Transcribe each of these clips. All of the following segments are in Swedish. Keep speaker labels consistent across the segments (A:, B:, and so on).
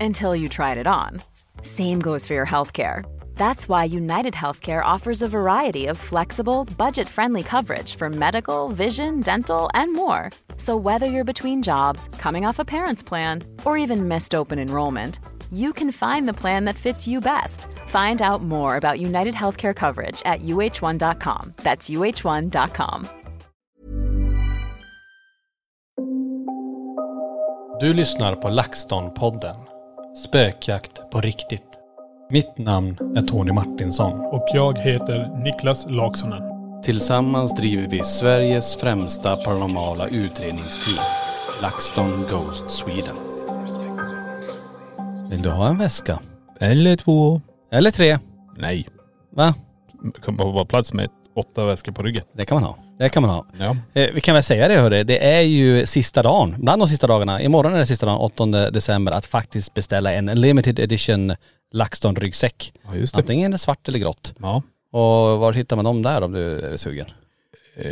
A: until you tried it on. Same goes for your healthcare. That's why United Healthcare offers a variety of flexible, budget friendly coverage for medical, vision, dental, and more. So, whether you're between jobs, coming off a parent's plan, or even missed open enrollment, you can find the plan that fits you best. Find out more about United Healthcare coverage at uh1.com. That's uh1.com.
B: Du lyssnar på LaxTon-podden. Spökjakt på riktigt. Mitt namn är Tony Martinsson.
C: och jag heter Niklas Laksonen.
B: Tillsammans driver vi Sveriges främsta paranormala utredningsteam. LaxTon Ghost Sweden. Vill du ha en väska?
C: Eller två.
B: Eller tre?
C: Nej.
B: Va?
C: Kan bara vara plats med åtta väskor på ryggen.
B: Det kan man ha. Det kan man ha.
C: Ja.
B: Eh, vi kan väl säga det hörru, det är ju sista dagen, bland de sista dagarna, imorgon är det sista dagen, 8 december, att faktiskt beställa en limited edition LaxTon-ryggsäck.
C: Ja just det.
B: Antingen är det svart eller grått.
C: Ja.
B: Och var hittar man dem där om du är sugen?
C: Eh,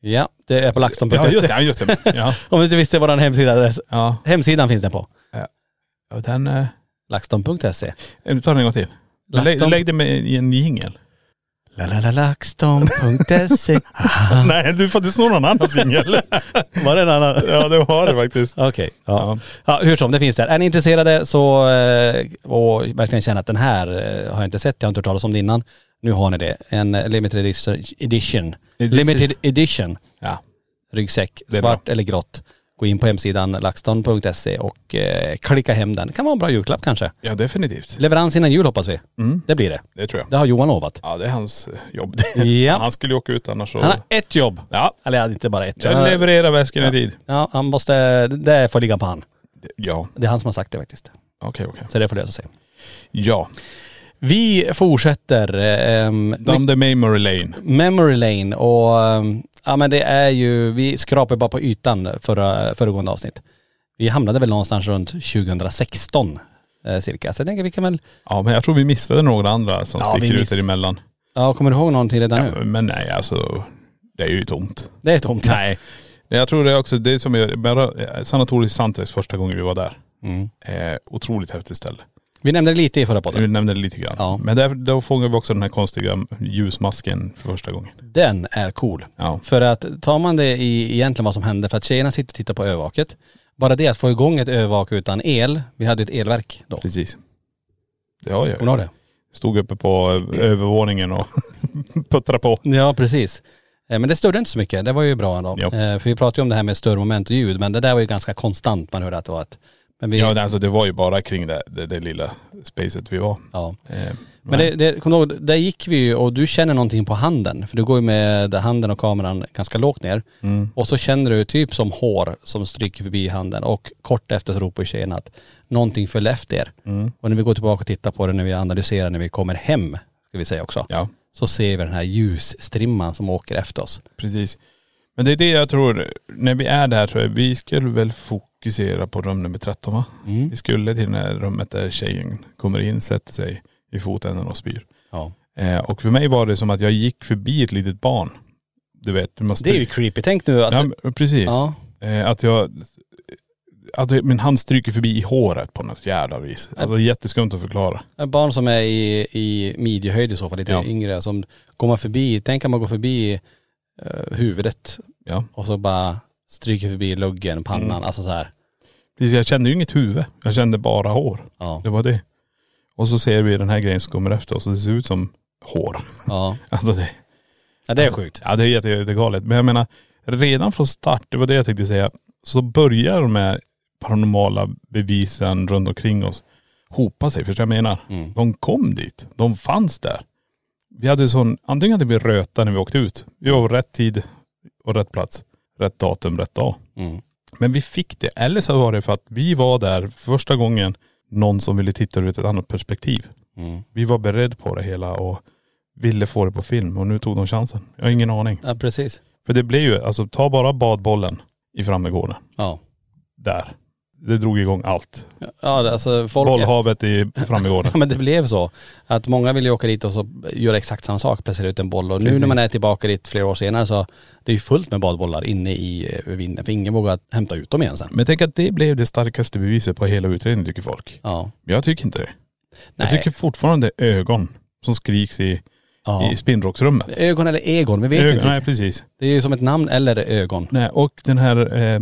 B: Ja, det är på laxton.se.
C: ja just det, ja just det. Ja.
B: Om du inte visste vår hemsidaadress.
C: ja.
B: Hemsidan finns den på.
C: Och den.. Eh,
B: LaxTon.se.
C: du tar den en gång till. Men Lägg,
B: Laxton.
C: lägg det med i en jingel.
B: La, la, la, LaxTon.se.
C: Nej du får inte sno någon annans jingel.
B: Ah. Var det en annan?
C: ja det har du faktiskt.
B: Okej. ja. ja. Hur som, det finns där. Är ni intresserade så, eh, och verkligen känner att den här eh, har jag inte sett, jag har inte hört talas om det innan. Nu har ni det. En eh, limited edition, edition. limited edition
C: Ja.
B: ryggsäck,
C: Det är
B: svart eller grått. Gå in på hemsidan laxton.se och eh, klicka hem den. Det kan vara en bra julklapp kanske.
C: Ja definitivt.
B: Leverans innan jul hoppas vi. Det blir det.
C: Det tror jag.
B: Det har Johan lovat.
C: Ja det är hans eh, jobb.
B: Ja.
C: Han skulle ju åka ut annars så..
B: Han har ett jobb.
C: Ja.
B: Eller ja, inte bara ett.
C: Jag levererar väskorna i tid.
B: Ja, han måste, det får ligga på han.
C: Ja.
B: Det är han som har sagt det faktiskt.
C: Okej okej.
B: Så det får lösa sig.
C: Ja.
B: Vi fortsätter. ehm,
C: Down the memory lane.
B: Memory Lane och ehm, ja men det är ju, vi skrapar bara på ytan förra, föregående avsnitt. Vi hamnade väl någonstans runt 2016 eh, cirka. Så jag tänker vi kan väl,
C: Ja men jag tror vi missade några andra som
B: Ja,
C: sticker
B: vi
C: ut
B: miss-
C: däremellan.
B: ja kommer du ihåg någonting redan nu?
C: Men nej alltså, det är ju tomt.
B: Det är tomt.
C: Nej. Jag tror det är också, det är som jag, bara eh, Sanatorius Santex första gången vi var där. Eh, otroligt häftigt ställe.
B: Vi nämnde Mm. det lite i förra podden.
C: Du nämnde det lite grann.
B: Ja.
C: Men där, då fångade vi också den här konstiga ljusmasken för första gången.
B: Den är cool.
C: Ja.
B: För att tar man det i egentligen vad som hände, för att tjejerna sitter och tittar på övervaket. Bara det att få igång ett övervak utan el, vi hade ett elverk då.
C: Precis. Det har jag.
B: Kommer du ihåg det?
C: Stod uppe på eh, övervåningen och puttrade på.
B: Ja precis. Eh, Men det störde inte så mycket, det var ju bra ändå.
C: Ja.
B: Eh, För vi pratade ju om det här med störmoment och ljud, men det där var ju ganska konstant man hörde att det var ett.. Men vi,
C: Ja det- alltså det var ju bara kring det, det, det lilla spacet vi var.
B: ja.
C: Eh,
B: Men det, det, kom ihåg, där gick vi ju och du känner någonting på handen. För du går ju med handen och kameran ganska lågt ner.
C: Mm.
B: Och så känner du typ som hår som stryker förbi handen. Och kort efter så ropar ju tjejen att någonting föll efter er.
C: Mm.
B: Och när vi går tillbaka och tittar på det, när vi analyserar, när vi kommer hem, ska vi säga också.
C: ja.
B: Så ser vi den här ljusstrimman som åker efter oss.
C: Precis. Men det är det jag tror, när vi är där så är, vi skulle väl fokusera på rum nummer 13 va?
B: Mm.
C: Vi skulle till det här rummet där tjejen kommer in, sätter sig i fotänden och spyr.
B: Ja.
C: Eh, och för mig var det som att jag gick förbi ett litet barn. Du vet, du måste..
B: Det är ju creepy. Tänk nu att..
C: Ja, men precis.
B: ja.
C: Eh, att jag.. Att jag- min hand stryker förbi i håret på något jävla vis.
B: Äh.
C: Alltså jätteskumt att förklara.
B: Barn som är i, i midjehöjd i så fall, lite
C: Ja.
B: yngre, som går man förbi, tänk om man går förbi eh, huvudet
C: Ja.
B: och så bara stryker förbi luggen, pannan,
C: Mm.
B: alltså så här.
C: Precis, jag kände ju inget huvud. Jag kände bara hår.
B: Ja.
C: Det var det. Och så ser vi den här grejen som kommer efter oss och det ser ut som hår.
B: Ja.
C: Alltså det,
B: ja, det är sjukt.
C: Ja det är jätte- jättegalet. Men jag menar, redan från start, det var det jag tänkte säga, så börjar de här paranormala bevisen runt omkring oss hopa sig. Förstår du vad jag menar?
B: Mm.
C: De kom dit. De fanns där. Vi hade sån, antingen hade vi röta när vi åkte ut. Vi var på rätt tid och rätt plats. Rätt datum, rätt dag.
B: Mm.
C: Men vi fick det. Eller så var det för att vi var där för första gången någon som ville titta ur ett annat perspektiv.
B: Mm.
C: Vi var beredd på det hela och ville få det på film och nu tog de chansen. Jag har ingen aning.
B: Ja precis.
C: För det blev ju, alltså ta bara badbollen i Frammegården.
B: Ja.
C: Där. Det drog igång allt.
B: Ja det- alltså folk..
C: Bollhavet i Frammegården.
B: Ja men det blev så. Att många ville ju åka dit och så göra exakt samma sak, placera ut en boll. Och nu när man är tillbaka dit flera år senare så, det är ju fullt med badbollar inne i eh, vinden. För ingen vågar hämta ut dem igen sen.
C: Men tänk att det blev det starkaste beviset på hela utredningen tycker folk.
B: Ja.
C: Men jag tycker inte det.
B: Nej.
C: Jag tycker fortfarande ögon som skriks i,
B: ja.
C: i spinnrocksrummet.
B: Ögon eller Egon, vi vet
C: Ögon,
B: inte.
C: nej
B: riktigt.
C: precis.
B: Det är ju som ett namn eller ögon.
C: Nej, och den här eh,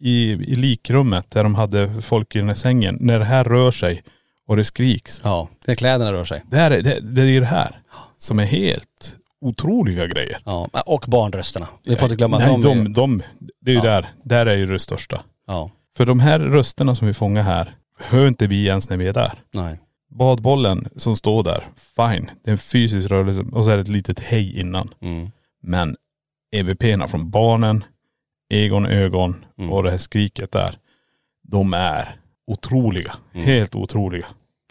C: i, i likrummet där de hade folk i den här sängen. När det här rör sig och det skriks.
B: Ja, när kläderna rör sig.
C: Det, här är, det, det är ju det här som är helt otroliga grejer.
B: Ja, och barnrösterna. Vi får inte glömma
C: Nej,
B: att de, är-
C: de, de, det är ju
B: Ja.
C: där. Där är ju det största.
B: Ja,
C: För de här rösterna som vi fångar här, hör inte vi ens när vi är där.
B: nej.
C: Badbollen som står där, fine. Det är en fysisk rörelse och så är det ett litet hej innan.
B: Mm.
C: Men EVP-erna från barnen, Egon ögon
B: Mm.
C: och det här skriket där. De är otroliga.
B: Mm.
C: Helt otroliga.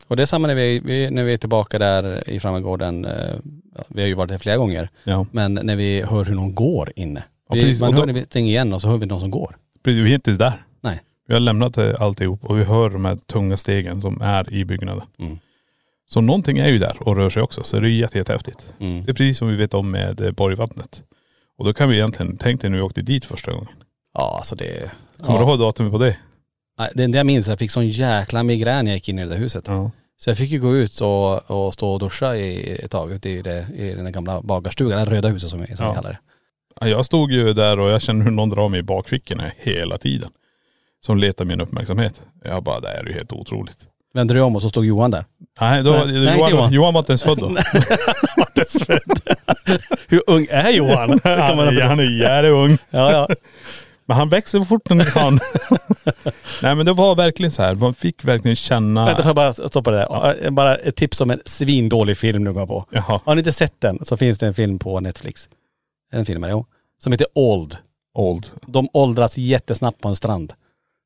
B: Och det är samma när vi, vi, när vi är tillbaka där i Frammegården. eh, ja, Vi har ju varit där flera gånger.
C: Ja.
B: Men när vi hör hur någon går inne.
C: Ja,
B: vi,
C: precis.
B: man
C: Och
B: hör
C: då-
B: ingenting igen och så hör vi någon som går.
C: Vi är inte ens där.
B: Nej.
C: Vi har lämnat eh, alltihop och vi hör de här tunga stegen som är i byggnaden.
B: Mm.
C: Så någonting är ju där och rör sig också. Så det är jätte, jättehäftigt.
B: Mm.
C: Det är precis som vi vet om med eh, Borgvattnet. Och då kan vi egentligen, tänk dig när vi åkte dit första gången.
B: Ja alltså det..
C: Kommer
B: ja.
C: du ihåg datumet på det?
B: Nej, Det enda jag minns, jag fick sån jäkla migrän när jag gick in i det där huset.
C: Ja.
B: Så jag fick ju gå ut och, och stå och duscha i ett tag ute i, det, i den där gamla bagarstugan, det röda huset som vi som vi
C: Ja.
B: kallar det.
C: Jag stod ju där och jag kände hur någon drar mig i bakfickorna hela tiden. Som letar min uppmärksamhet. Jag bara, det här är ju helt otroligt.
B: Vände du om och så stod Johan där.
C: Nej, då,
B: Nej, nej, inte
C: Johan,
B: Johan.
C: Johan. var inte ens född då.
B: Hur ung är Johan?
C: han, är, han är jävligt ung.
B: ja, ja.
C: Men han växer fort när han. Nej men det var verkligen så här, man fick verkligen känna..
B: Vänta får jag bara stoppa det där. Bara ett tips om en svindålig film nu går jag på.
C: Jaha.
B: Har ni inte sett den så finns det en film på Netflix. En film är det, jo. Som heter Old.
C: Old.
B: De åldras jättesnabbt på en strand.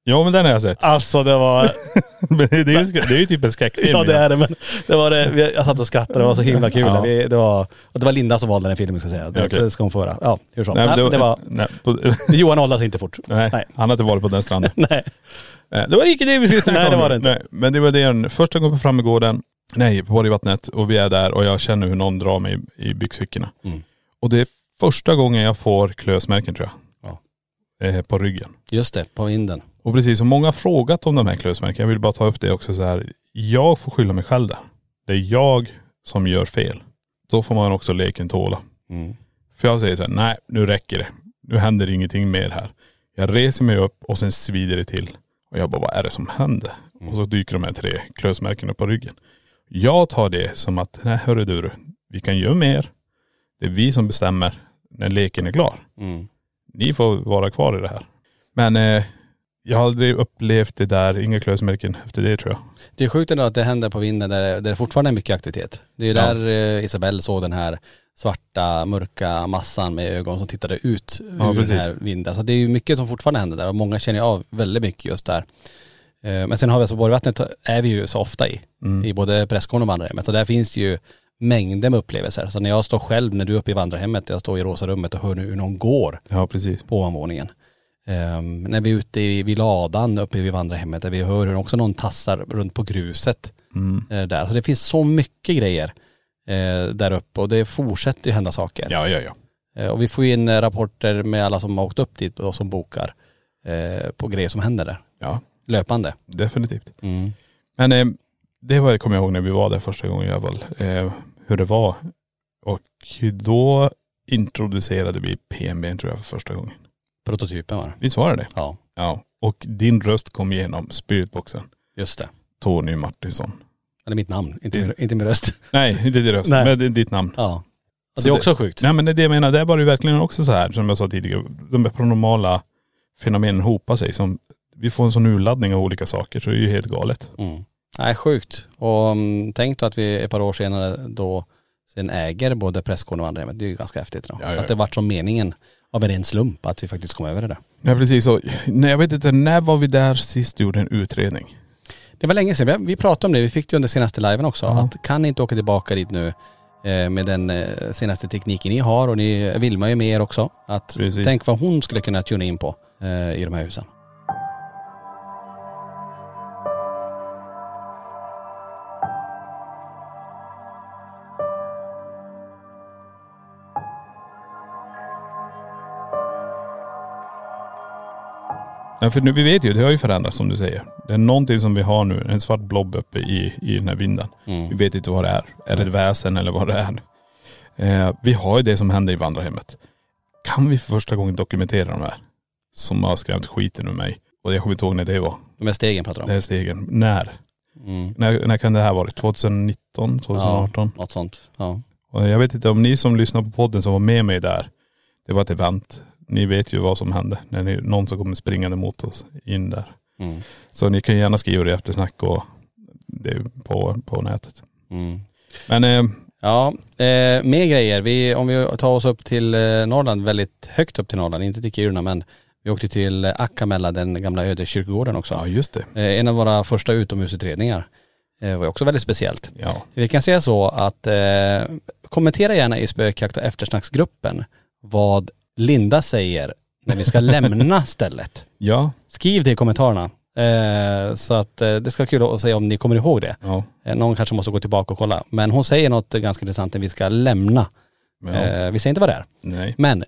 C: Ja men den har jag sett.
B: Alltså det var..
C: Men det, är ju, det är ju typ en skräckfilm.
B: Ja det är det men det var det, vi- jag satt och skrattade, det var så himla kul.
C: Ja.
B: Vi, det, var, och det var Linda som valde den filmen ska jag säga. Det,
C: Okej.
B: det ska hon få höra. Ja, hur som.
C: Nej,
B: Nej,
C: men
B: men det var,
C: nej, på,
B: Johan åldras inte fort.
C: nej,
B: Nej.
C: han har inte varit på den stranden.
B: Nej.
C: Nej, det var inte det vi skulle snacka
B: Nej,
C: om.
B: det var det inte.
C: Nej, men det var det jag, första gången på Frammegården, nej på Borgvattnet och vi är där och jag känner hur någon drar mig i, i byxfickorna.
B: Mm.
C: Och det är första gången jag får klösmärken tror jag. Eh, på ryggen.
B: Just det, på vinden.
C: Och precis som många har frågat om de här klösmärkena, jag vill bara ta upp det också så här. Jag får skylla mig själv där. Det är jag som gör fel. Då får man också leken tåla. För jag säger så här, nej nu räcker det. Nu händer ingenting mer här. Jag reser mig upp och sen svider det till. Och jag bara, vad är det som händer? Och så dyker de här tre klösmärkena på ryggen. Jag tar det som att, nej hörru du, vi kan göra mer. Det är vi som bestämmer när leken är klar. Ni får vara kvar i det här. Men eh, jag har aldrig upplevt det där, inga klösmärken efter det tror jag.
B: Det är sjukt ändå att det händer på vinden där, det- där det fortfarande är mycket aktivitet. Det är ju
C: Ja.
B: där eh, Isabelle såg den här svarta, mörka massan med ögon som tittade ut ur
C: Ja,
B: den
C: precis.
B: här vinden. Så det är ju mycket som fortfarande händer där och många känner ju av väldigt mycket just där. Eh, Men sen har vi alltså Borgvattnet är vi ju så ofta i,
C: Mm.
B: i både Prästgården och vandrarhemmet. Så där finns det ju mängder med upplevelser. Så när jag står själv, när du är uppe i vandrarhemmet, jag står i rosa rummet och hör nu hur någon går
C: Ja precis.
B: på ovanvåningen. Ehm, när vi är ute i, vid ladan uppe vid vandrarhemmet där vi hör hur också någon tassar runt på gruset.
C: Mm.
B: eh, där. Så det finns så mycket grejer eh, där uppe och det fortsätter ju hända saker.
C: Ja ja ja.
B: Eh, och vi får ju in eh, rapporter med alla som har åkt upp dit och som bokar eh, på grejer som händer där.
C: Ja
B: Löpande.
C: definitivt. Men eh, det var, kommer jag ihåg när vi var där första gången jag var, eh, hur det var. Och då introducerade vi PMB tror jag för första gången.
B: Prototypen var det.
C: Visst var det det?
B: Ja,
C: Ja. Och din röst kom igenom spiritboxen.
B: just det.
C: Tony Martinsson.
B: Eller mitt namn, inte, min, inte min röst.
C: Nej, inte din röst,
B: Nej.
C: men det är ditt namn.
B: Ja. Och
C: Så
B: det är
C: det-
B: också sjukt.
C: Nej men det är det jag menar, där var det ju verkligen också så här som jag sa tidigare. De här paranormala fenomenen hopar sig. Som, vi får en sån urladdning av olika saker så det är ju helt galet.
B: Mm. Nej, sjukt. Och mm, tänk då att vi ett par år senare då sen äger både Prästgården och Andrehemmet. Det är ju ganska häftigt. Då.
C: Ja, ja, ja.
B: Att det vart som meningen av en ren slump att vi faktiskt kom över det där.
C: Nej precis så. Nej jag vet inte, när var vi där sist du gjorde en utredning?
B: Det var länge sedan. Vi- Vi pratade om det. Vi fick det under senaste liven också.
C: Ja.
B: Att kan ni inte åka tillbaka dit nu eh, med den eh, senaste tekniken ni har och ni Vilma är ju med er också. Att
C: Precis.
B: tänk vad hon skulle kunna tuna in på eh, i de här husen.
C: Ja, för nu, vi vet ju, det har ju förändrats som du säger. Det är någonting som vi har nu, en svart blob uppe i, i den här vinden.
B: Mm.
C: Vi vet inte vad det är. Är det ett väsen eller vad det är? Eh, vi har ju det som hände i vandrarhemmet. Kan vi för första gången dokumentera de här? Som har skrämt skiten ur mig. Och jag kommer inte ihåg när det var.
B: De här stegen pratar
C: Det
B: de om.
C: här stegen. När?
B: Mm.
C: När, när kan det här vara? 2019, 2018?
B: Ja, något sånt. Ja.
C: Och jag vet inte om ni som lyssnar på podden som var med mig där, det var ett event. Ni vet ju vad som hände när ni, någon som kommer springande mot oss in där.
B: Mm.
C: Så ni kan ju gärna skriva det i eftersnack och det på, på nätet.
B: Mm.
C: Men eh,
B: Ja, eh, mer grejer. Vi, om vi tar oss upp till eh, Norrland, väldigt högt upp till Norrland, inte till Kiruna men vi åkte till eh, Akkamela, den gamla ödeskyrkogården också.
C: ja just det.
B: Eh, en av våra första utomhusutredningar. Eh, var också väldigt speciellt.
C: Ja.
B: Vi kan säga så att eh, kommentera gärna i spökjakt och eftersnacksgruppen vad Linda säger när vi ska lämna stället.
C: Ja.
B: Skriv det i kommentarerna. Eh, så att eh, det ska vara kul att se om ni kommer ihåg det.
C: Ja.
B: Eh, Någon kanske måste gå tillbaka och kolla. Men hon säger något ganska intressant när vi ska lämna.
C: ja.
B: Eh, vi säger inte vad det är.
C: Nej.
B: Men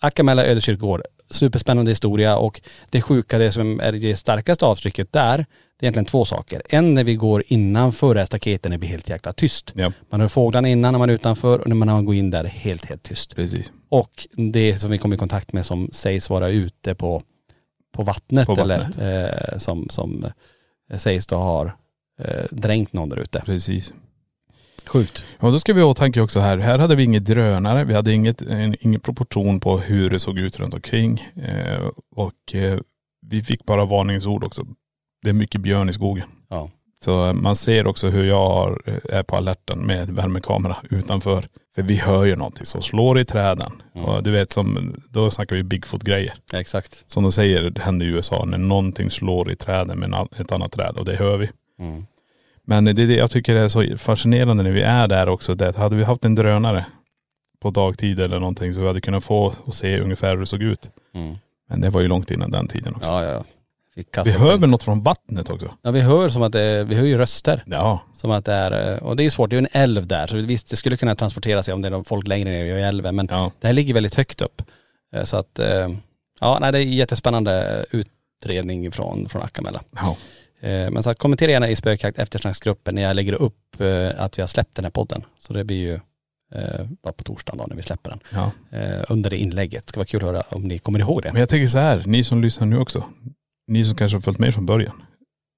B: Akamella ödeskyrkogård, superspännande historia och det sjuka, det som är det starkaste avtrycket där, det är egentligen två saker. En när vi går innanför det här staketen, det blir helt jäkla tyst.
C: Ja.
B: Man hör fåglarna innan när man är utanför och när man går in där, helt, helt tyst.
C: Precis.
B: Och det som vi kom i kontakt med som sägs vara ute på, på vattnet,
C: På vattnet.
B: eller eh, som, som eh, sägs då har eh, dränkt någon där ute.
C: Precis.
B: Sjukt.
C: Ja då ska vi ha i åtanke också här, här hade vi inget drönare, vi hade inget, en, ingen proportion på hur det såg ut runt omkring. Eh, och eh, vi fick bara varningsord också. Det är mycket björn i skogen.
B: Ja.
C: Så eh, man ser också hur jag har, eh, är på alerten med värmekamera utanför. För vi hör ju någonting som slår i träden.
B: Mm.
C: Och du vet som, då snackar vi Bigfoot-grejer.
B: Exakt.
C: Som de säger, det händer i USA när någonting slår i träden med en an- ett annat träd och det hör vi.
B: Mm.
C: Men det är det jag tycker är så fascinerande när vi är där också. Det att hade vi haft en drönare på dagtid eller någonting så vi hade kunnat få och se ungefär hur det såg ut.
B: Mm.
C: Men det var ju långt innan den tiden också.
B: Ja, ja, ja. Vi
C: vi
B: kastar upp
C: hör
B: en-
C: väl något från vattnet också?
B: Ja vi hör som att det, vi hör ju röster.
C: Ja.
B: Som att det är, eh, och det är ju svårt, det är ju en älv där. Så visst det skulle kunna transportera sig om det är någon folk längre ner i älven. Men
C: Ja.
B: det här ligger väldigt högt upp. Eh, Så att, eh, ja nej det är jättespännande utredning från, från Akkamela.
C: ja.
B: Eh, Men så att kommentera gärna i spökjakt eftersnacksgruppen när jag lägger upp eh, att vi har släppt den här podden. Så det blir ju eh, bara på torsdagen då när vi släpper den.
C: ja.
B: Eh, Under det inlägget. Ska vara kul att höra om ni kommer ihåg
C: Men
B: det.
C: jag tänker så här, ni som lyssnar nu också. Ni som kanske har följt med från början.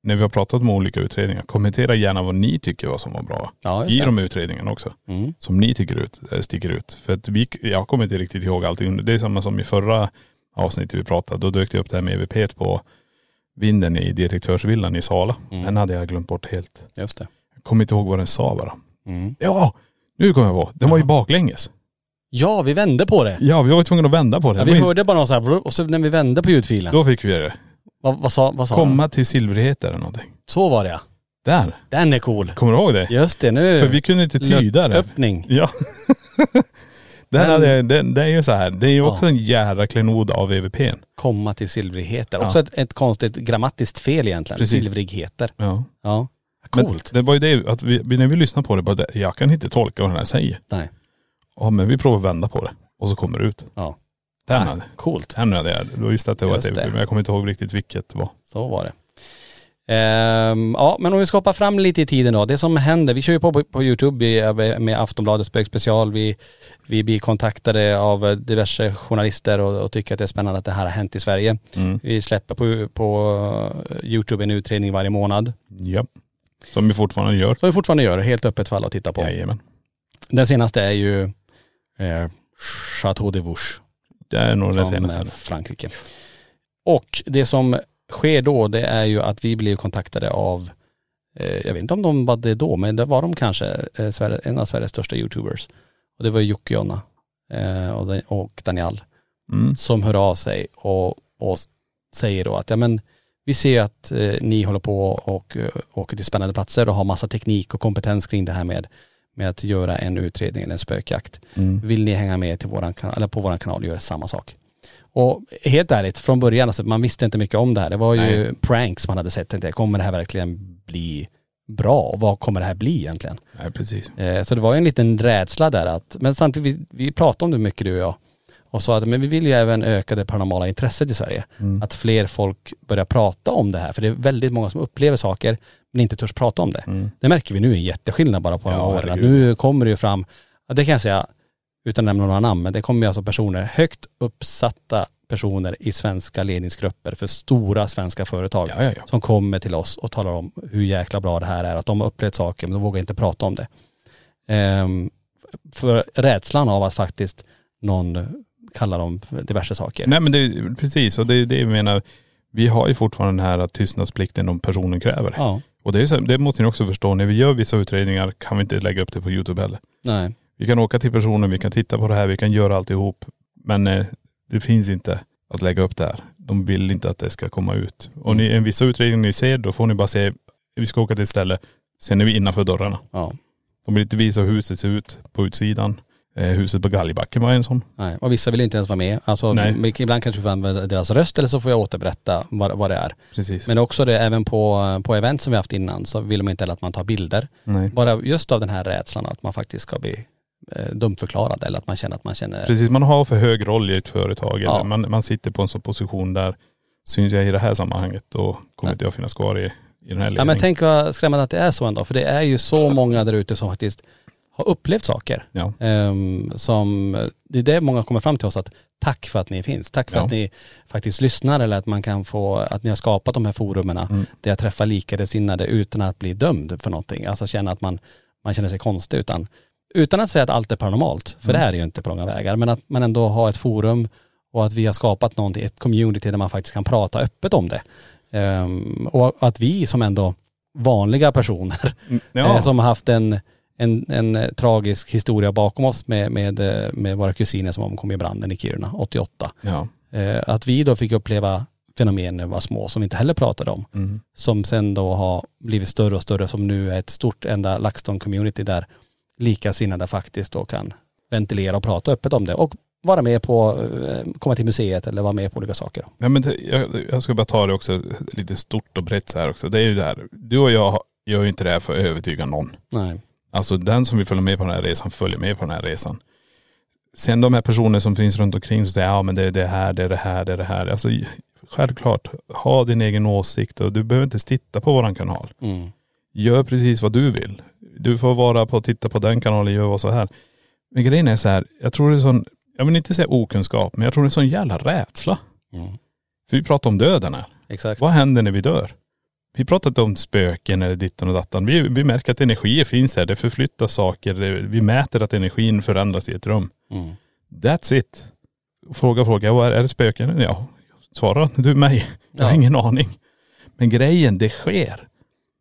C: När vi har pratat om olika utredningar, kommentera gärna vad ni tycker vad som var bra.
B: Ja,
C: I
B: just det.
C: de utredningarna också.
B: Mm.
C: som ni tycker ut, eh, sticker ut. För att vi, jag kommer inte riktigt ihåg allting. Det är samma som i förra avsnittet vi pratade. Då dök det upp det här med EVP på vinden i direktörsvillan i Sala.
B: Mm.
C: Den hade jag glömt bort helt.
B: Just det.
C: Jag kommer inte ihåg vad den sa bara.
B: Mm.
C: Ja, nu kommer jag på. Den var ju baklänges.
B: Ja vi vände på det.
C: Ja, vi var ju tvungna att vända på det.
B: Ja,
C: Det
B: vi
C: var inte-
B: hörde bara någon så här, brr, och så när vi vände på ljudfilen,
C: Då fick vi det.
B: vad, vad sa, vad sa de?
C: Komma till silverhet eller någonting.
B: Så var det ja.
C: Där.
B: Den är cool.
C: Kommer du ihåg det?
B: Just det, nu
C: För vi kunde inte tyda det.
B: öppning.
C: Ja. Den
B: Men-
C: hade, jag- den, det är ju så här. Det är ju också
B: Ja.
C: en jävla klenod av E EVPn.
B: Komma till silvrigheter.
C: Ja.
B: Också ett, ett konstigt grammatiskt fel egentligen.
C: Precis.
B: Silvrigheter.
C: Ja.
B: Ja.
C: Men
B: Coolt.
C: Det var ju det att vi, vi- när vi lyssnar på det, bara, det, jag kan inte tolka vad den här säger.
B: Nej.
C: Ja men vi provar att vända på det och så kommer det ut.
B: Ja.
C: Den
B: Nej,
C: hade,
B: Coolt.
C: den hade jag. Det var just att det var
B: Ah, Just
C: ett E
B: det.
C: men jag kommer inte ihåg riktigt vilket det var.
B: Så var det. Ehm, ja, men om vi ska hoppa fram lite i tiden då. Det som händer, vi kör ju på på, på Youtube vi- med Aftonbladets bögspecial. Vi, vi blir kontaktade av eh, diverse journalister och, och tycker att det är spännande att det här har hänt i Sverige. Vi släpper på, på Youtube en utredning varje månad.
C: Ja. Som vi fortfarande gör.
B: Som vi fortfarande gör, helt öppet för alla att titta på.
C: Jajamän.
B: Den senaste är ju eh, Chateau de Vouche
C: Det är nog den
B: från eh,
C: senaste.
B: Frankrike. Och det som sker då det är ju att vi blir kontaktade av, eh, jag vet inte om de var det då, men det var de kanske, eh, Sverige, en av Sveriges största youtubers. Och det var ju Jocke och Jonna eh, och, Dan- och Daniel
C: Mm.
B: som hör av sig och, och s- säger då att ja men vi ser att eh, ni håller på och eh, åker till spännande platser och har massa teknik och kompetens kring det här med, med att göra en utredning eller en spökjakt. Vill ni hänga med till våran kanal, eller på vår kanal och göra samma sak? Och helt ärligt, från början, alltså, man visste inte mycket om det här. Det var ju pranks man hade sett. Tänkte, jag, kommer det här verkligen bli bra? Och vad kommer det här bli egentligen?
C: Nej precis.
B: Eh, Så det var ju en liten rädsla där att, men samtidigt, vi, vi pratade om det mycket du och jag. Och sa att men vi vill ju även öka det paranormala intresset i Sverige.
C: Mm.
B: Att fler folk börjar prata om det här. För det är väldigt många som upplever saker men inte törs prata om det. Det märker vi nu är en jätteskillnad bara på de
C: Mm. Ja,
B: här åren. Att
C: herregud.
B: nu kommer det ju fram, ja, det kan jag säga utan att nämna några namn, men det kommer ju alltså personer, högt uppsatta personer i svenska ledningsgrupper för stora svenska företag
C: Ja, ja, ja.
B: som kommer till oss och talar om hur jäkla bra det här är. Att de har upplevt saker men de vågar inte prata om det. Ehm, för rädslan av att faktiskt någon kallar dem för diverse saker.
C: Nej men det, precis och det är det jag menar. Vi har ju fortfarande den här tystnadsplikten om personen kräver.
B: Ja,
C: Och det, är så, det måste ni också förstå. När vi gör vissa utredningar kan vi inte lägga upp det på Youtube heller.
B: nej.
C: Vi kan åka till personen, vi kan titta på det här, vi kan göra alltihop. Men eh, det finns inte att lägga upp där. De vill inte att det ska komma ut. Och ni, en vissa utredningar ni ser, då får ni bara se, vi ska åka till ett ställe, sen är vi innanför dörrarna.
B: Ja,
C: De vill inte visa hur huset ser ut på utsidan. Eh, huset på Galgbacken var en sån.
B: nej. Och vissa vill ju inte ens vara med. Alltså,
C: Nej.
B: men Ibland kanske vi får använda deras röst eller så får jag återberätta vad, vad det är.
C: Precis.
B: Men också det, även på, på event som vi haft innan så vill de inte heller att man tar bilder.
C: Nej.
B: Bara just av den här rädslan att man faktiskt ska bli eh, dumförklarad eller att man känner att man känner..
C: Precis, man har för hög roll i ett företag.
B: Ja.
C: Eller man, man sitter på en sån position där, syns jag i det här sammanhanget, då kommer
B: Nej.
C: inte jag finnas kvar i, i den här
B: Ja
C: ledningen.
B: men tänk vad skrämmande att det är så ändå. För det är ju så många där ute som faktiskt har upplevt saker.
C: Ja.
B: Ehm, som, det är det många kommer fram till oss att tack för att ni finns. Tack för
C: Ja.
B: att ni faktiskt lyssnar eller att man kan få, att ni har skapat de här forumen
C: Mm.
B: där jag träffar likasinnade utan att bli dömd för någonting. Alltså känna att man, man känner sig konstig utan, utan att säga att allt är paranormalt, för det
C: Mm.
B: här är ju inte på långa vägar, men att man ändå har ett forum och att vi har skapat någonting, ett community där man faktiskt kan prata öppet om det. Ehm, och att vi som ändå vanliga personer
C: ja.
B: eh, som har haft en, en, en eh, tragisk historia bakom oss med, med, eh, med våra kusiner som omkom i branden i Kiruna 88.
C: ja.
B: Eh, att vi då fick uppleva fenomen när vi var små som vi inte heller pratade om.
C: Mm.
B: Som sen då har blivit större och större som nu är ett stort enda LaxTon-community där likasinnade faktiskt då kan ventilera och prata öppet om det och vara med på, eh, komma till museet eller vara med på olika saker.
C: Nej, men det, jag, jag ska bara ta det också lite stort och brett så här också. Det är ju det här, du och jag gör ju inte det här för att övertyga någon.
B: Nej.
C: Alltså den som vill följa med på den här resan följer med på den här resan. Sen de här personer som finns runt omkring som säger ja men det är det här, det är det här, det är det här. Alltså självklart, ha din egen åsikt och du behöver inte titta på våran kanal.
B: Mm.
C: Gör precis vad du vill. Du får vara på, titta på den kanalen, gör vad så här. Men grejen är så här, jag tror det är sån, jag vill inte säga okunskap, men jag tror det är sån jävla rädsla.
B: Mm.
C: För vi pratar om döden här.
B: Exakt.
C: Vad händer när vi dör? Vi pratar inte om spöken eller ditten och dattan. Vi, vi märker att energier finns här. Det förflyttas saker. Det- Vi mäter att energin förändras i ett rum.
B: Mm.
C: That's it. Fråga, fråga. Vad är, är det spöken? Ja. Svara du mig. Jag har
B: Ja.
C: ingen aning. Men grejen, det sker.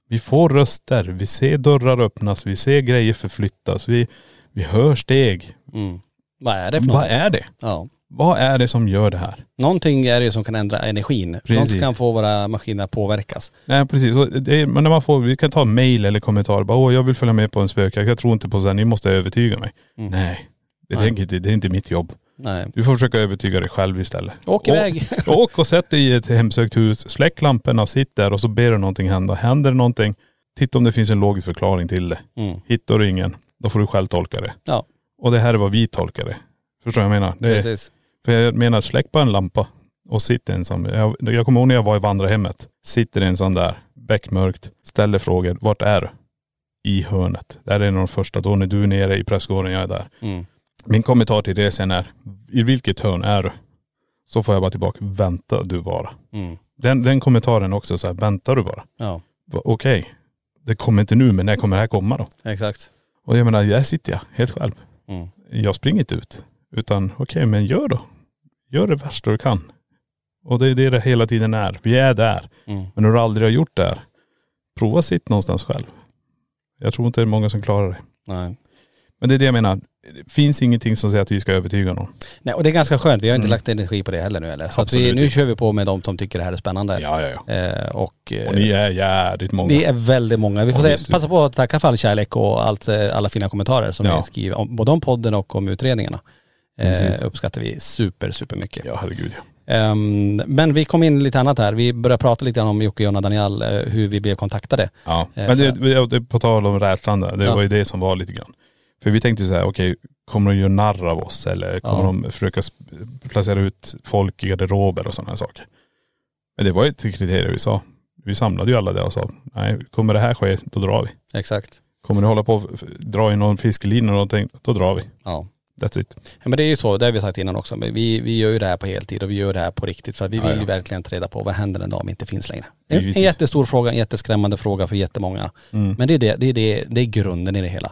C: Vi får röster. Vi ser dörrar öppnas. Vi ser grejer förflyttas. Vi, vi hör steg.
B: Mm. Vad är det för något?
C: Vad är det?
B: Ja.
C: Vad är det som gör det här?
B: Någonting är det ju som kan ändra energin.
C: Precis.
B: Något kan få våra maskiner att påverkas.
C: Nej precis. Och Det är, men när man får, vi kan ta mail eller kommentar. Bara, Åh, jag vill följa med på en spökjakt. Jag tror inte på det här. Ni måste övertyga mig. Nej. Det,
B: Mm. Nej.
C: tänker inte- det är inte mitt jobb.
B: Nej.
C: Du får försöka övertyga dig själv istället.
B: Åk iväg.
C: Och, åk och sätt dig i ett hemsökt hus. Släck lamporna, sitt där och så ber du någonting hända. Händer det någonting, titta om det finns en logisk förklaring till det.
B: Mm.
C: Hittar du ingen, då får du själv tolka det.
B: Ja,
C: Och det här är vad vi tolkar det. Förstår du vad jag menar? Det är,
B: precis.
C: för jag menar, släck bara en lampa och sitt ensam. Jag, jag kommer ihåg när jag var i vandrarhemmet. Sitter ensam där. beckmörkt, ställer frågor. Vart är du? I hörnet. Där är en av de första. Då när du är nere i pressgården, jag är där.
B: Mm.
C: Min kommentar till det sen är, i vilket hörn är du? Så får jag bara tillbaka, vänta du bara.
B: Mm.
C: Den, den kommentaren också, så här, väntar du bara.
B: Ja,
C: Va, Okej, det kommer inte nu, men när kommer det här komma då?
B: exakt.
C: Och jag menar, där sitter jag helt själv.
B: Mm.
C: Jag springer inte ut. Utan okej, men gör då. Gör det värsta du kan. Och det är det det hela tiden är. Vi är där.
B: Mm.
C: Men när du aldrig har gjort det här, prova sitt någonstans själv. Jag tror inte det är många som klarar det.
B: Nej.
C: Men det är det jag menar. Det finns ingenting som säger att vi ska övertyga någon.
B: Nej, och det är ganska skönt. Vi har inte
C: Mm.
B: lagt energi på det heller nu eller? Så att vi,
C: Absolut
B: nu
C: inte.
B: kör vi på med de som tycker det här är spännande.
C: Ja, ja, ja.
B: Eh, och, eh,
C: Och ni är jävligt många.
B: Ni är väldigt många. Vi får
C: Ja,
B: säga,
C: visst.
B: passa på att tacka för all kärlek och allt, eh, alla fina kommentarer som
C: Ja.
B: ni skriver, om, både om podden och om utredningarna. Eh,
C: Precis.
B: uppskattar vi super, super mycket.
C: Ja, herregud ja.
B: Ehm, men vi kom in lite annat här. Vi började prata lite grann om Jocke, Jonna, Daniel, eh, hur vi blev kontaktade.
C: ja.
B: Eh,
C: Men det,
B: för-
C: det- det, på tal om rädslan där, det
B: Ja.
C: var ju det som var lite grann. För vi tänkte ju så här, okej, kommer de göra narr av oss eller kommer
B: Ja.
C: de försöka sp- placera ut folk i garderober och sådana saker. Men det var ju ett kriterium vi sa. Vi samlade ju alla det och sa, nej, kommer det här ske, då drar vi.
B: Exakt.
C: Kommer ni hålla på och f- f- dra i någon fiskelina eller någonting, då drar vi.
B: Ja.
C: That's it.
B: ja. Men det är ju så, det har vi sagt innan också. Men vi, vi gör ju det här på heltid och vi gör det här på riktigt. För att vi
C: Ja,
B: vill ju
C: ja.
B: verkligen ta reda på vad händer den dag vi inte finns längre. En, en
C: Givetvis.
B: jättestor fråga, en jätteskrämmande fråga för jättemånga.
C: Mm.
B: Men det är, det, det, är det, det är grunden i det hela.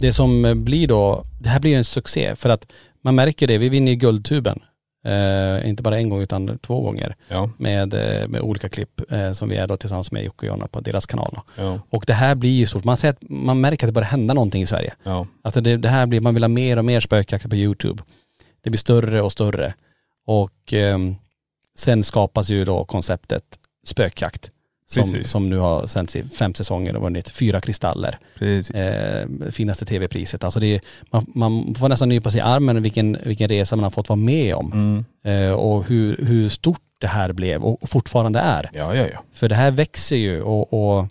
B: det som blir då, det här blir ju en succé för att man märker det, vi vinner ju Guldtuben. Eh, inte bara en gång utan två gånger
C: Ja,
B: med, eh, med olika klipp eh, som vi är då tillsammans med Jocke och Jonna på deras kanal. Då.
C: ja,
B: Och det här blir ju stort, man, ser att, man märker att det börjar hända någonting i Sverige.
C: ja.
B: Alltså det, det här blir, man vill ha mer och mer spökjakter på YouTube. Det blir större och större. Och ehm, sen skapas ju då konceptet spökjakt. Som,
C: Precis.
B: som nu har sänts i fem säsonger och vunnit fyra kristaller
C: Precis.
B: eh, finaste tv-priset. Alltså det är, man, man får nästan nypa sig i armen vilken, vilken resa man har fått vara med om.
C: Mm.
B: Eh, och hur, hur stort det här blev och, och fortfarande är.
C: Ja, ja, ja.
B: För det här växer ju och, och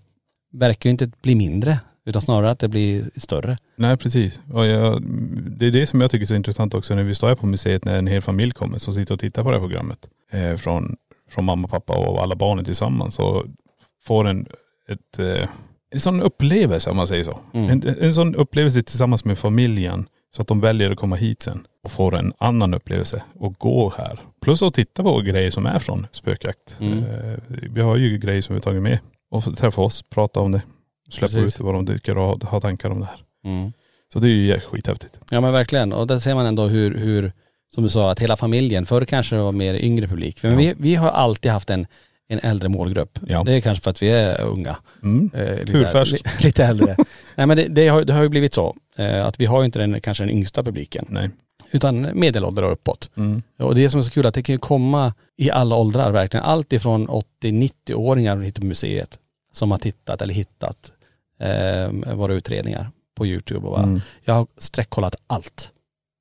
B: verkar ju inte bli mindre utan snarare att det blir större.
C: Nej precis. Och jag, det är det som jag tycker är så intressant också när vi står här på museet när en hel familj kommer som sitter och tittar på det här programmet. Eh, från, från mamma, pappa och alla barnen tillsammans och får en, ett, eh, en sån upplevelse om man säger så.
B: Mm.
C: En, en sån upplevelse tillsammans med familjen så att de väljer att komma hit sen och får en annan upplevelse och gå här. Plus att titta på grejer som är från spökjakt.
B: Mm.
C: Eh, vi har ju grejer som vi har tagit med och få träffa oss, prata om det, släppa
B: Precis. Mm.
C: ut vad de tycker och ha, ha tankar om det här. Så det är ju skithäftigt.
B: Ja men verkligen. Och där ser man ändå hur, hur som du sa, att hela familjen, förr kanske det var mer yngre publik. Men vi, vi har alltid haft en, en äldre målgrupp.
C: Ja.
B: Det är kanske för att vi är unga.
C: Mm.
B: Eh, lite,
C: Hudfärsk.
B: li- lite äldre. Nej men det, det, har, det har ju blivit så. Eh, att vi har ju inte den, kanske den yngsta publiken.
C: Nej.
B: Utan medelålder och uppåt.
C: Mm.
B: Och det som är så kul är att det kan ju komma i alla åldrar verkligen. Allt ifrån 80-90-åringar hit på museet som har tittat eller hittat eh, våra utredningar på YouTube och bara,
C: Mm.
B: jag har streckkollat allt.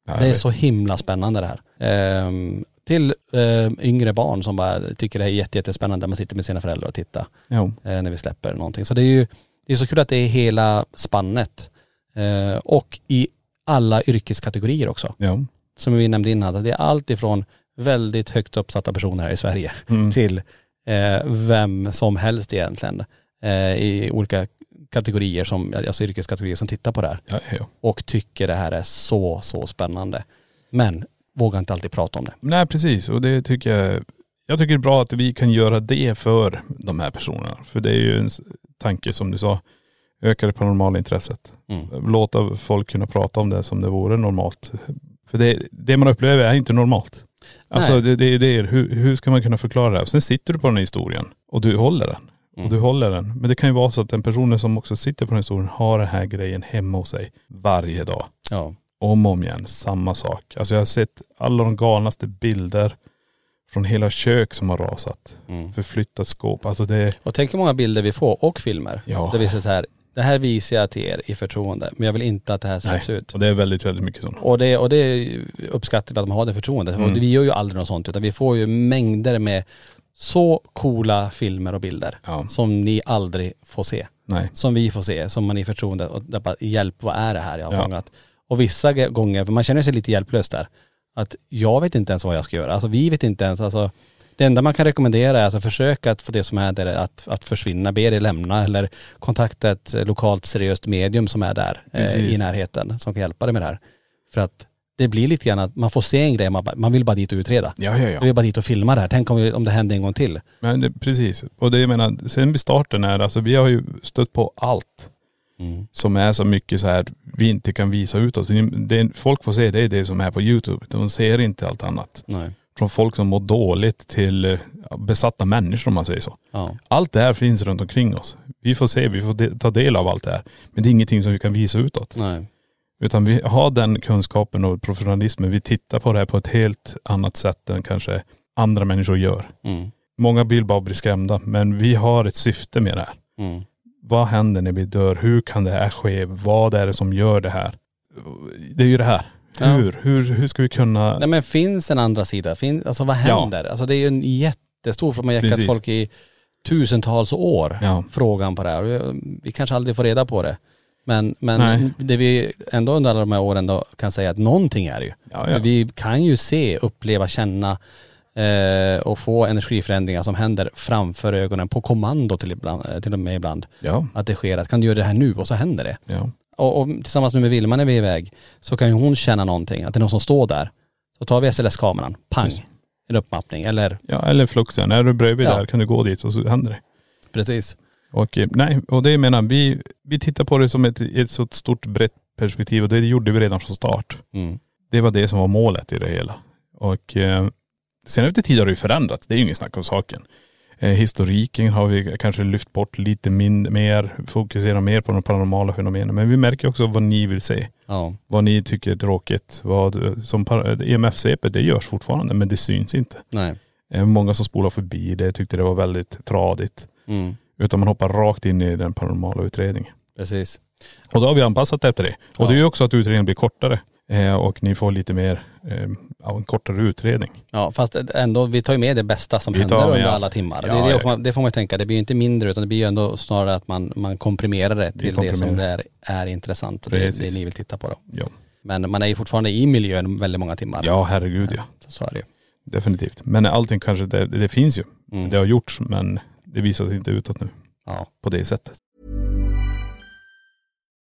C: Ja, jag
B: Det är
C: vet.
B: så himla spännande det här. Ehm, till eh, yngre barn som bara tycker det här är jätte, jättespännande när man sitter med sina föräldrar och tittar
C: Ja.
B: eh, när vi släpper någonting. Så det är ju, det är så kul att det är hela spannet. Eh, och i alla yrkeskategorier också.
C: ja.
B: som vi nämnde innan, att det är allt ifrån väldigt högt uppsatta personer här i Sverige
C: Mm.
B: till eh, vem som helst egentligen eh, i olika kategorier, som, alltså yrkeskategorier som tittar på det här
C: Ja, ja, ja.
B: och tycker det här är så, så spännande. Men vågar inte alltid prata om det.
C: Nej precis och det tycker jag, jag tycker det är bra att vi kan göra det för de här personerna. För det är ju en s- tanke som du sa, öka det paranormala intresset. Låta folk kunna prata om det som det vore normalt. För det, det man upplever är inte normalt. Alltså
B: Nej.
C: det, det, det är, hur, hur ska man kunna förklara det här? Sen sitter du på den här historien och du håller den. Och du håller den. Men det kan ju vara så att den personen som också sitter på den här historien har den här grejen hemma hos sig varje dag
B: Ja.
C: om och om igen samma sak. Alltså jag har sett alla de galnaste bilder från hela kök som har rasat. Förflyttat skåp. Alltså det,
B: Och tänk hur många bilder vi får och filmer.
C: Ja.
B: Där vi säger så här, det här visar jag till er i förtroende, men jag vill inte att det här släpps ut.
C: och det är väldigt, väldigt mycket sådana.
B: Och det, och det uppskattar vi att man har det förtroendet.
C: Mm.
B: Och Vi gör ju aldrig något sånt utan vi får ju mängder med så coola filmer och bilder
C: Ja.
B: som ni aldrig får se.
C: Nej.
B: Som vi får se, som man i förtroende, och där bara, hjälp vad är det här jag har
C: Ja.
B: fångat? Och vissa ge- gånger, för man känner sig lite hjälplös där, att jag vet inte ens vad jag ska göra. Alltså vi vet inte ens, alltså det enda man kan rekommendera är alltså försöka att få det som är där att, att försvinna, be det lämna eller kontakta ett eh, lokalt seriöst medium som är där eh, i
C: Precis.
B: närheten som kan hjälpa dig med det här. För att det blir lite grann att man får se en grej, man, bara- man vill bara dit och utreda.
C: Ja, ja,
B: Man vill bara dit och filma det här. Tänk om, vi- om det händer en gång till.
C: Men det, precis. Och det jag menar, sen vid starten är det, alltså vi har ju stött på allt.
B: Mm.
C: Som är så mycket så här, vi inte kan visa ut oss. Det, folk får se, det är det som är på YouTube. De ser inte allt annat.
B: Nej.
C: Från folk som mår dåligt till eh, besatta människor om man säger så.
B: Ja.
C: Allt det här finns runt omkring oss. Vi får se, vi får de- ta del av allt det här. Men det är ingenting som vi kan visa utåt.
B: Nej.
C: Utan vi har den kunskapen och professionalismen. Vi tittar på det här på ett helt annat sätt än kanske andra människor gör.
B: Mm.
C: Många vill bara bli skrämda, men vi har ett syfte med det här.
B: Mm.
C: Vad händer när vi dör? Hur kan det här ske? Vad är det som gör det här? Det är ju det här.
B: Ja.
C: Hur? Hur, hur ska vi kunna..
B: Nej men finns en andra sida? Fin, alltså vad
C: Ja.
B: händer? Alltså det är ju en jättestor fråga. Man har jäckat
C: Precis.
B: folk i tusentals år,
C: Ja.
B: frågan på det här. Och vi- Vi kanske aldrig får reda på det. Men,
C: Nej.
B: men det vi ändå under alla de här åren då kan säga att någonting är det ju.
C: Ja, ja.
B: För vi kan ju se, uppleva, känna eh, och få energiförändringar som händer framför ögonen på kommando till, ibland, eh, till och med ibland.
C: Ja.
B: Att det sker, att kan du göra det här nu och så händer det.
C: Ja.
B: Och, och tillsammans nu med Vilma när vi är iväg så kan ju hon känna någonting, att det är någon som står där. Så tar vi SLS-kameran, pang,
C: Precis.
B: en uppmappning eller
C: ja, eller fluxen. Är du bredvid
B: Ja.
C: där kan du gå dit och så händer det.
B: precis.
C: Och eh, nej, och det menar vi, vi tittar på det som ett, ett så stort brett perspektiv och det gjorde vi redan från start.
B: Mm.
C: Det var det som var målet i det hela. Och eh, sen efter tid har det ju förändrats, det är ju ingen snack om saken. Eh, historiken har vi kanske lyft bort lite mindre, mer, fokuserar mer på de paranormala fenomenen. Men vi märker också vad ni vill se,
B: Ja,
C: vad ni tycker är tråkigt. Vad, eh, som para- EMF-svepet, det görs fortfarande men det syns inte.
B: nej.
C: Eh, många som spolar förbi det tyckte det var väldigt tradigt.
B: Mm.
C: Utan man hoppar rakt in i den paranormala utredningen.
B: Precis.
C: Och då har vi anpassat det efter det. Och
B: Ja.
C: det är ju också att utredningen blir kortare. Eh, och ni får lite mer, eh, ja, en kortare utredning.
B: Ja fast ändå, vi tar ju med det bästa som
C: Vi tar
B: händer under
C: med allt.
B: alla timmar.
C: Ja,
B: det, är det,
C: ja,
B: också man- det får man ju tänka, det blir ju inte mindre utan det blir ju ändå snarare att man, man komprimerar det till det som det
C: komprimerar.
B: är, är intressant och det,
C: Precis.
B: det ni vill titta på då.
C: Ja,
B: Men man är ju fortfarande i miljön väldigt många timmar.
C: ja herregud ja.
B: Så, så är det ju.
C: Definitivt. Men allting kanske, det, det finns ju.
B: Mm.
C: Det har gjorts men det visar sig inte utåt nu
B: Ja.
C: på det sättet.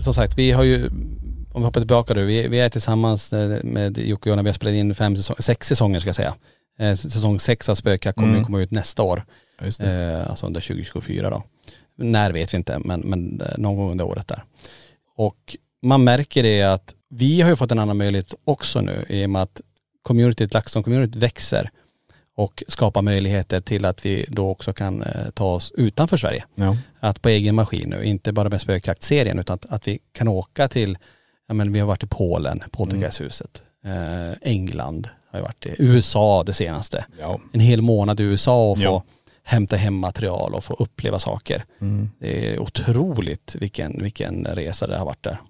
B: som sagt, vi har ju, om vi hoppar tillbaka nu, vi, vi är tillsammans eh, med Jocke och jag när vi har spelat in fem säsong, sex säsonger ska jag säga. Eh, Säsong sex av Spöka kommer ju komma ut nästa år,
C: Ja, just det.
B: eh, alltså under 2024 då. När vet vi inte, men, men eh, någon gång under året där. Och man märker det att vi har ju fått en annan möjlighet också nu i och med att communityt, LaxTon-communityt växer och skapar möjligheter till att vi då också kan eh, ta oss utanför Sverige.
C: Ja.
B: Att på egen maskin nu, inte bara med spökjaktserien utan att, att vi kan åka till, ja men vi har varit i Polen, Poltergeisthuset, eh, England har jag varit i, USA det senaste.
C: Ja.
B: En hel månad i USA och få
C: Ja.
B: hämta hem material och få uppleva saker.
C: Mm,
B: Det är otroligt vilken, vilken resa det har varit där.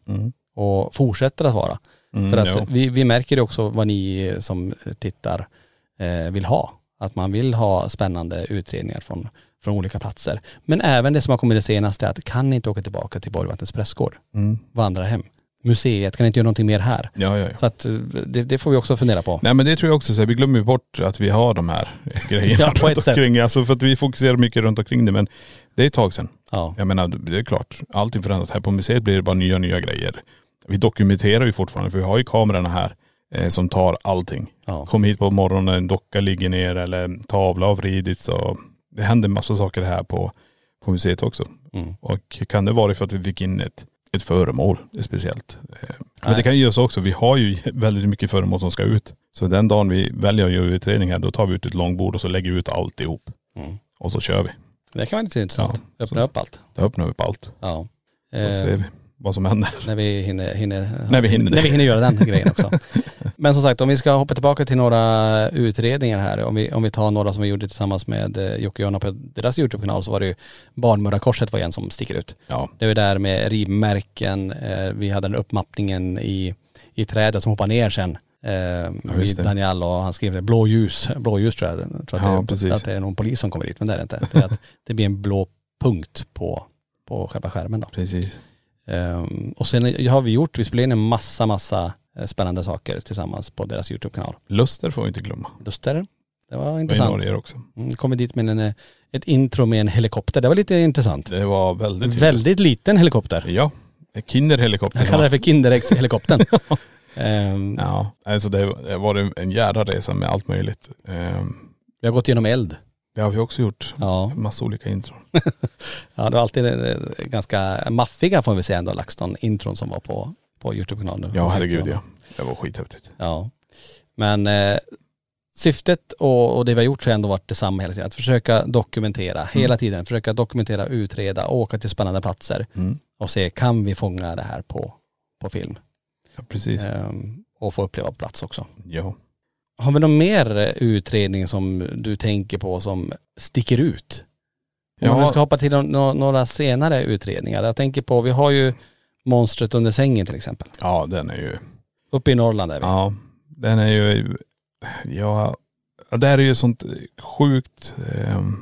B: Och fortsätter att vara. För att
C: mm, ja.
B: vi, vi märker ju också vad ni som tittar eh, vill ha. Att man vill ha spännande utredningar från, från olika platser. Men även det som har kommit det senaste är att kan ni inte åka tillbaka till Borgvattnets prästgård? Vandra hem. Museet, kan ni inte göra någonting mer här?
C: Mm. Ja, ja, ja.
B: Så att eh, det, det får vi också fundera på.
C: Nej men det tror jag också, så här, vi glömmer ju bort att vi har de här grejerna
B: Ja, på ett
C: runt
B: sätt.
C: omkring. Alltså för att vi fokuserar mycket runt omkring det men det är ett tag sedan.
B: Ja.
C: Jag menar det är klart, allting förändras. Här på museet blir det bara nya nya grejer. Vi dokumenterar ju fortfarande för vi har ju kamerorna här eh, som tar allting.
B: Ja.
C: Kom hit på morgonen, en docka ligger ner eller en tavla har vridits och det händer massa saker här på, på museet också.
B: Mm.
C: Och kan det vara för att vi fick in ett, ett föremål speciellt? Eh, Men det
B: Nej.
C: kan ju göra så också. Vi har ju väldigt mycket föremål som ska ut. Så den dagen vi väljer att göra utredning här, då tar vi ut ett långbord och så lägger vi ut alltihop.
B: Mm.
C: Och så kör vi.
B: Det kan vara lite intressant. Öppna
C: Så-
B: upp allt.
C: Då öppnar vi upp allt.
B: Ja.
C: Och så
B: Eh,
C: ser vi vad som händer.
B: När vi hinner, hinner,
C: När vi hinner.
B: när vi hinner göra den grejen också. Men som sagt, om vi ska hoppa tillbaka till några utredningar här. Om vi, om vi tar några som vi gjorde tillsammans med eh, Jocke och Jonna på deras YouTube-kanal så var det ju Barnmördarkorset var en som sticker ut.
C: Ja.
B: Det var där med rivmärken, eh, vi hade den uppmappningen i, i trädet som hoppar ner sen. Eh,
C: just
B: vid
C: det.
B: Daniel och han skrev det, blåljus, blåljus tror jag, jag tror att,
C: Ja,
B: det,
C: precis.
B: att det är någon polis som kommer dit, men det är det inte. Det, är att det blir en blå punkt på, på själva skärmen då.
C: Precis.
B: Ehm, och sen har vi gjort, vi spelade in en massa, massa eh, spännande saker tillsammans på deras YouTube-kanal.
C: Luster får vi inte glömma.
B: Duster, det var
C: Det var i
B: intressant.
C: Norge också.
B: Mm, kom vi dit med en, eh, ett intro med en helikopter, det var lite intressant.
C: Det var väldigt
B: Väldigt liten helikopter.
C: Ja. Kinderhelikoptern.
B: Jag kallar det för Kinderex-helikoptern. Ehm,
C: Ja. Alltså det det var en- en jädra resa med allt möjligt. Ehm,
B: Vi har gått igenom eld.
C: Det har vi också gjort.
B: Ja.
C: Massa olika intron.
B: ja, det var alltid eh, ganska maffiga får vi säga ändå, LaxTon-intron som var på, på YouTube-kanalen.
C: Ja herregud ja. Det var skithäftigt.
B: Ja. Men eh, syftet och, och det vi har gjort har ändå varit detsamma hela tiden. Att försöka dokumentera
C: Mm.
B: hela tiden. Försöka dokumentera, utreda, åka till spännande platser
C: Mm.
B: och se kan vi fånga det här på, på film.
C: Ja, precis.
B: Ehm, och få uppleva på plats också.
C: Ja.
B: Har vi någon mer eh, utredning som du tänker på som sticker ut? Om vi
C: Ja.
B: ska hoppa till no- no- några senare utredningar. Jag tänker på, vi har ju Monstret under sängen till exempel.
C: ja den är ju..
B: Uppe i Norrland är vi.
C: Ja. Den är ju.. Ja. ja, Det här är ju sånt sjukt.. ehm,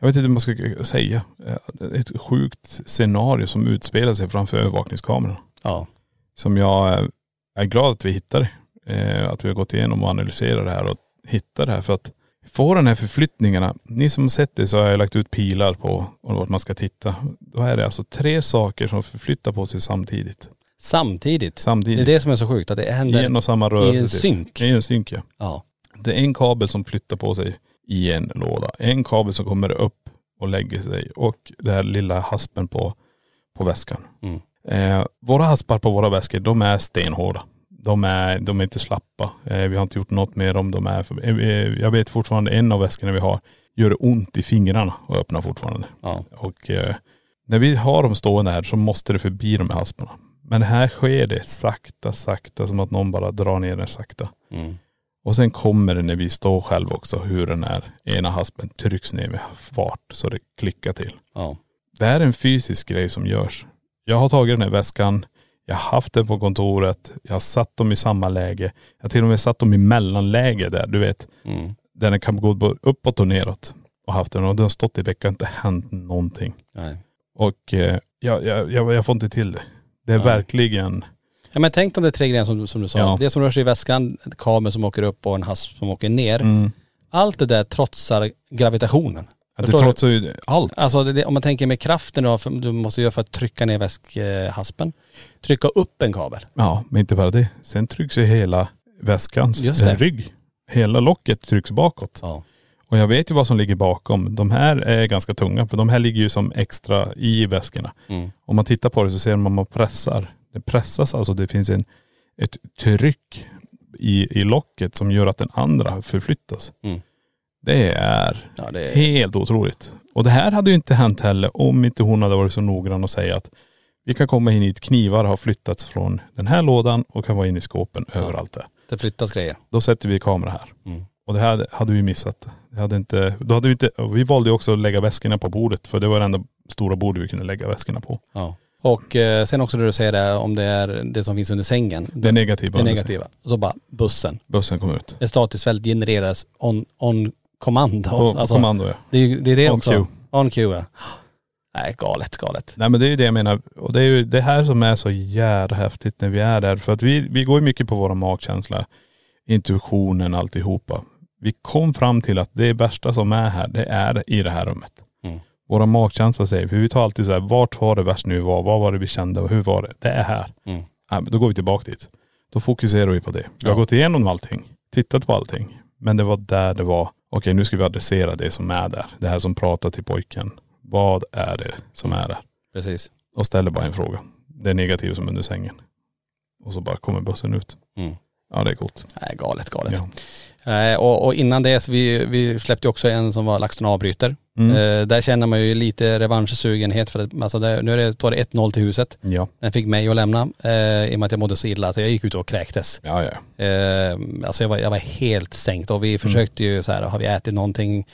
C: Jag vet inte hur man ska säga. Eh, Ett sjukt scenario som utspelar sig framför övervakningskameran.
B: Ja.
C: Som jag eh, är glad att vi hittade. Eh, Att vi har gått igenom och analyserat det här och hittat det här. För att få den här förflyttningarna. Ni som har sett det så har jag lagt ut pilar på vart man ska titta. Då är det alltså tre saker som förflyttar på sig samtidigt.
B: Samtidigt. Det
C: Samtidigt.
B: är det som är så sjukt, att det
C: I
B: händer
C: en och samma rörelse.
B: i en
C: typ.
B: synk.
C: I en synk ja.
B: Ja.
C: Det är en kabel som flyttar på sig i en låda. En kabel som kommer upp och lägger sig och det här lilla haspen på, på väskan.
B: Mm.
C: Eh, våra haspar på våra väskor, de är stenhårda. De är, de är inte slappa. Eh, vi har inte gjort något med dem. De är för, eh, eh, jag vet fortfarande en av väskorna vi har gör det ont i fingrarna och öppnar fortfarande.
B: Ja.
C: Och eh, när vi har dem stående här så måste det förbi de här hasparna. Men här sker det sakta, sakta som att någon bara drar ner den sakta.
B: Mm.
C: Och sen kommer det när vi står själva också hur den här ena haspen trycks ner med fart så det klickar till.
B: Ja.
C: Det här är en fysisk grej som görs. Jag har tagit den här väskan, jag har haft den på kontoret, jag har satt dem i samma läge. Jag har till och med satt dem i mellanläge där, du vet.
B: Mm.
C: Där den kan gå både uppåt och neråt. Och haft den och den har stått i veckan, inte hänt någonting.
B: Nej.
C: Och eh, jag, jag, jag, jag får inte till det. Det är
B: Nej.
C: verkligen,
B: ja men tänk om det är tre grejer som, du- som du sa.
C: Ja.
B: Det som rör sig i väskan, kameran som åker upp och en hasp som åker ner.
C: mm,
B: Allt det där trotsar gravitationen.
C: att det
B: Förstår du?
C: trotsar ju allt.
B: Alltså det, det, om man tänker med kraften du, har för, du måste göra för att trycka ner väskhaspen. Trycka upp en kabel.
C: Ja, men inte bara det. Sen trycks ju hela väskans
B: Just det.
C: rygg. Hela locket trycks bakåt.
B: Ja.
C: Och jag vet ju vad som ligger bakom. De här är ganska tunga för de här ligger ju som extra i väskorna.
B: Mm.
C: Om man tittar på det så ser man att man pressar Det pressas alltså, det finns en, ett tryck i, i locket som gör att den andra förflyttas.
B: Mm.
C: Det är
B: Ja, det är,
C: helt otroligt. Och det här hade ju inte hänt heller om inte hon hade varit så noggrann och säga att vi kan komma in hit, knivar har flyttats från den här lådan och kan vara inne i skåpen överallt där.
B: det flyttas grejer.
C: Då sätter vi kamera här.
B: Mm.
C: Och det här hade vi missat. Det hade inte, då hade vi, inte, vi valde ju också att lägga väskorna på bordet för det var det enda stora bordet vi kunde lägga väskorna på.
B: Ja. Och eh, sen också det du säger där om det är det som finns under sängen.
C: Det negativa.
B: Det negativa. Och så bara bussen.
C: Bussen kom ut.
B: Ett statiskt fält genereras on, on command.
C: På, på
B: Alltså,
C: kommando ja.
B: Det är, det är det
C: On
B: också.
C: cue.
B: On cue. ja. Nej, galet, galet.
C: Nej men det är ju det jag menar. Och det är ju det här som är så jävla häftigt när vi är där. För att vi, vi går ju mycket på våra magkänsla, intuitionen, alltihopa. Vi kom fram till att det värsta som är här, det är i det här rummet.
B: Mm.
C: Våra magkänsla säger, för vi tar alltid så här, vart var det värst nu var? Vad var det vi kände och hur var det? Det är här.
B: Mm.
C: Ja, men då går vi tillbaka dit. Då fokuserar vi på det. Vi har
B: Ja.
C: gått igenom allting, tittat på allting. Men det var där det var, okej nu ska vi adressera det som är där. Det här som pratar till pojken. Vad är det som är där?
B: Precis.
C: och ställer bara en fråga. Det är negativt som under sängen. Och så bara kommer bussen ut.
B: Mm.
C: Ja det är coolt.
B: Nej, galet, galet.
C: Ja.
B: Eh, och, och innan det, så vi, vi släppte ju också en som var LaxTon avbryter.
C: Mm.
B: Eh, där känner man ju lite revanschsugenhet för att alltså det, nu är det, står det 1-0 till huset.
C: Ja.
B: Den fick mig att lämna eh, i och med att jag mådde så illa så jag gick ut och kräktes.
C: Ja ja.
B: Eh, alltså jag var, jag var helt sänkt och
C: Mm.
B: vi försökte ju så här, har vi ätit någonting?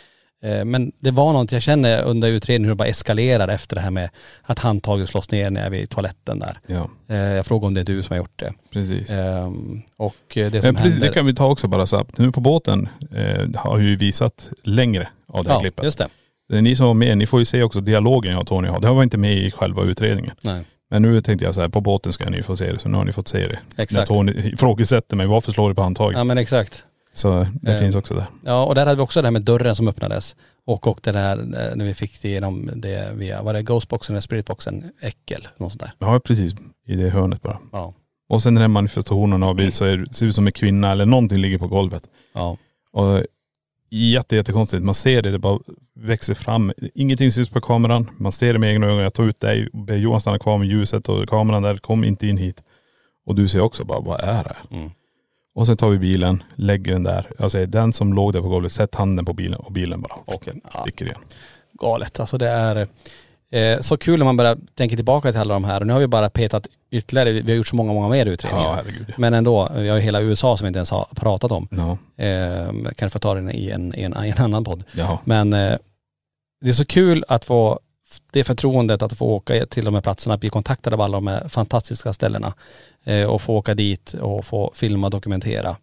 B: Eh, men det var något jag känner under utredningen hur det bara eskalerar efter det här med att handtaget slås ner när jag är vid toaletten där.
C: Ja
B: Eh, jag frågade om det är du som har gjort det.
C: precis.
B: Eh, och eh, det
C: Det,
B: som
C: precis
B: händer.
C: det kan vi ta också bara snabbt. Nu på båten eh, har ju visat längre av det här
B: ja,
C: klippet.
B: just det.
C: Det är Ni som var med, ni får ju se också dialogen jag och Tony har. Det här var inte med i själva utredningen.
B: Nej.
C: Men nu tänkte jag så här, på båten ska ni få se det. Så nu har ni fått se det.
B: Exakt.
C: När Tony ifrågasätter mig, varför slår du på handtaget?
B: Ja men exakt.
C: Så det
B: Eh.
C: finns också där.
B: Ja, och där hade vi också det här med dörren som öppnades. Och, och det där eh, när vi fick det genom det via, var det Ghostboxen eller Spiritboxen? Äckel, något sånt där.
C: Ja precis, i det hörnet bara.
B: Ja.
C: Och sen när manifestationen har blivit så är, det- ser det ut som en kvinna eller någonting ligger på golvet.
B: Ja.
C: Och jätte, jättekonstigt. Man ser det, det bara växer fram. Ingenting syns på kameran. Man ser det med egna ögon. Jag tar ut dig och ber Johan stanna kvar med ljuset och kameran där. Kom inte in hit. Och du ser också bara, vad är det här?
B: Mm.
C: Och sen tar vi bilen, lägger den där. Jag säger, den som låg där på golvet, sätt handen på bilen och bilen bara
B: Okej. Ja.
C: sticker igen.
B: Galet, alltså det är eh, så kul när man börjar tänka tillbaka till alla de här. Och nu har vi bara petat ytterligare, vi har gjort så många, många mer utredningar.
C: Ja, herregud.
B: Men ändå, vi har ju hela USA som vi inte ens har pratat om.
C: Ja,
B: Eh, kan få ta den i en, i en, i en annan podd.
C: ja.
B: Men eh, det är så kul att få det förtroendet att få åka till de här platserna, att bli kontaktad av alla de här fantastiska ställena eh, och få åka dit och få filma, dokumentera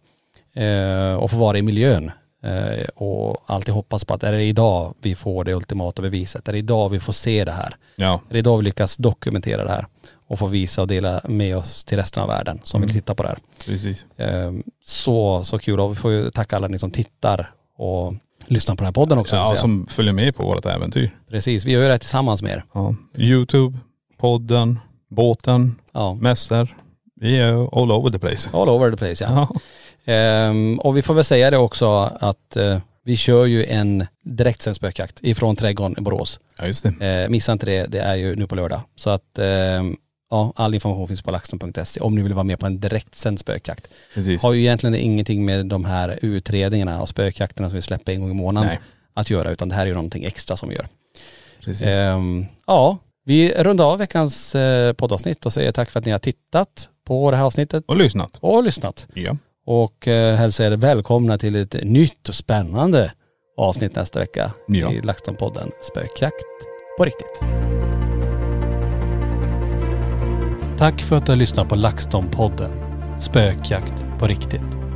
B: eh, och få vara i miljön eh, och alltid hoppas på att är det idag vi får det ultimata beviset? Är det idag vi får se det här?
C: ja.
B: Är det idag vi lyckas dokumentera det här och få visa och dela med oss till resten av världen som vill titta på det här?
C: precis.
B: Eh, så, så kul och vi får ju tacka alla ni som tittar och lyssnar på den här podden också. vill
C: Ja,
B: säga.
C: som följer med på vårt äventyr.
B: Precis, vi gör ju det här tillsammans med er.
C: Ja. Youtube, podden, båten,
B: Ja.
C: mässor. Vi är all over the place.
B: All over the place ja.
C: Ja.
B: Ehm, och vi får väl säga det också att eh, vi kör ju en direktsänd spökjakt ifrån trädgården i Borås.
C: Ja just det.
B: Eh, missa inte det, det är ju nu på lördag. Så att ehm, ja, all information finns på laxton.se om ni vill vara med på en direktsänd spökjakt.
C: Precis.
B: Har ju egentligen ingenting med de här utredningarna och spökjakterna som vi släpper en gång i månaden
C: Nej.
B: att göra utan det här är ju någonting extra som vi gör.
C: Precis.
B: Ehm, ja, vi rundar av veckans eh, poddavsnitt och säger tack för att ni har tittat på det här avsnittet
C: Och lyssnat.
B: och lyssnat.
C: Ja.
B: Och eh, hälsar er välkomna till ett nytt och spännande avsnitt nästa vecka
C: Ja.
B: i LaxTon-podden Spökjakt på riktigt. Tack för att du har lyssnat på LaxTon-podden Spökjakt på riktigt.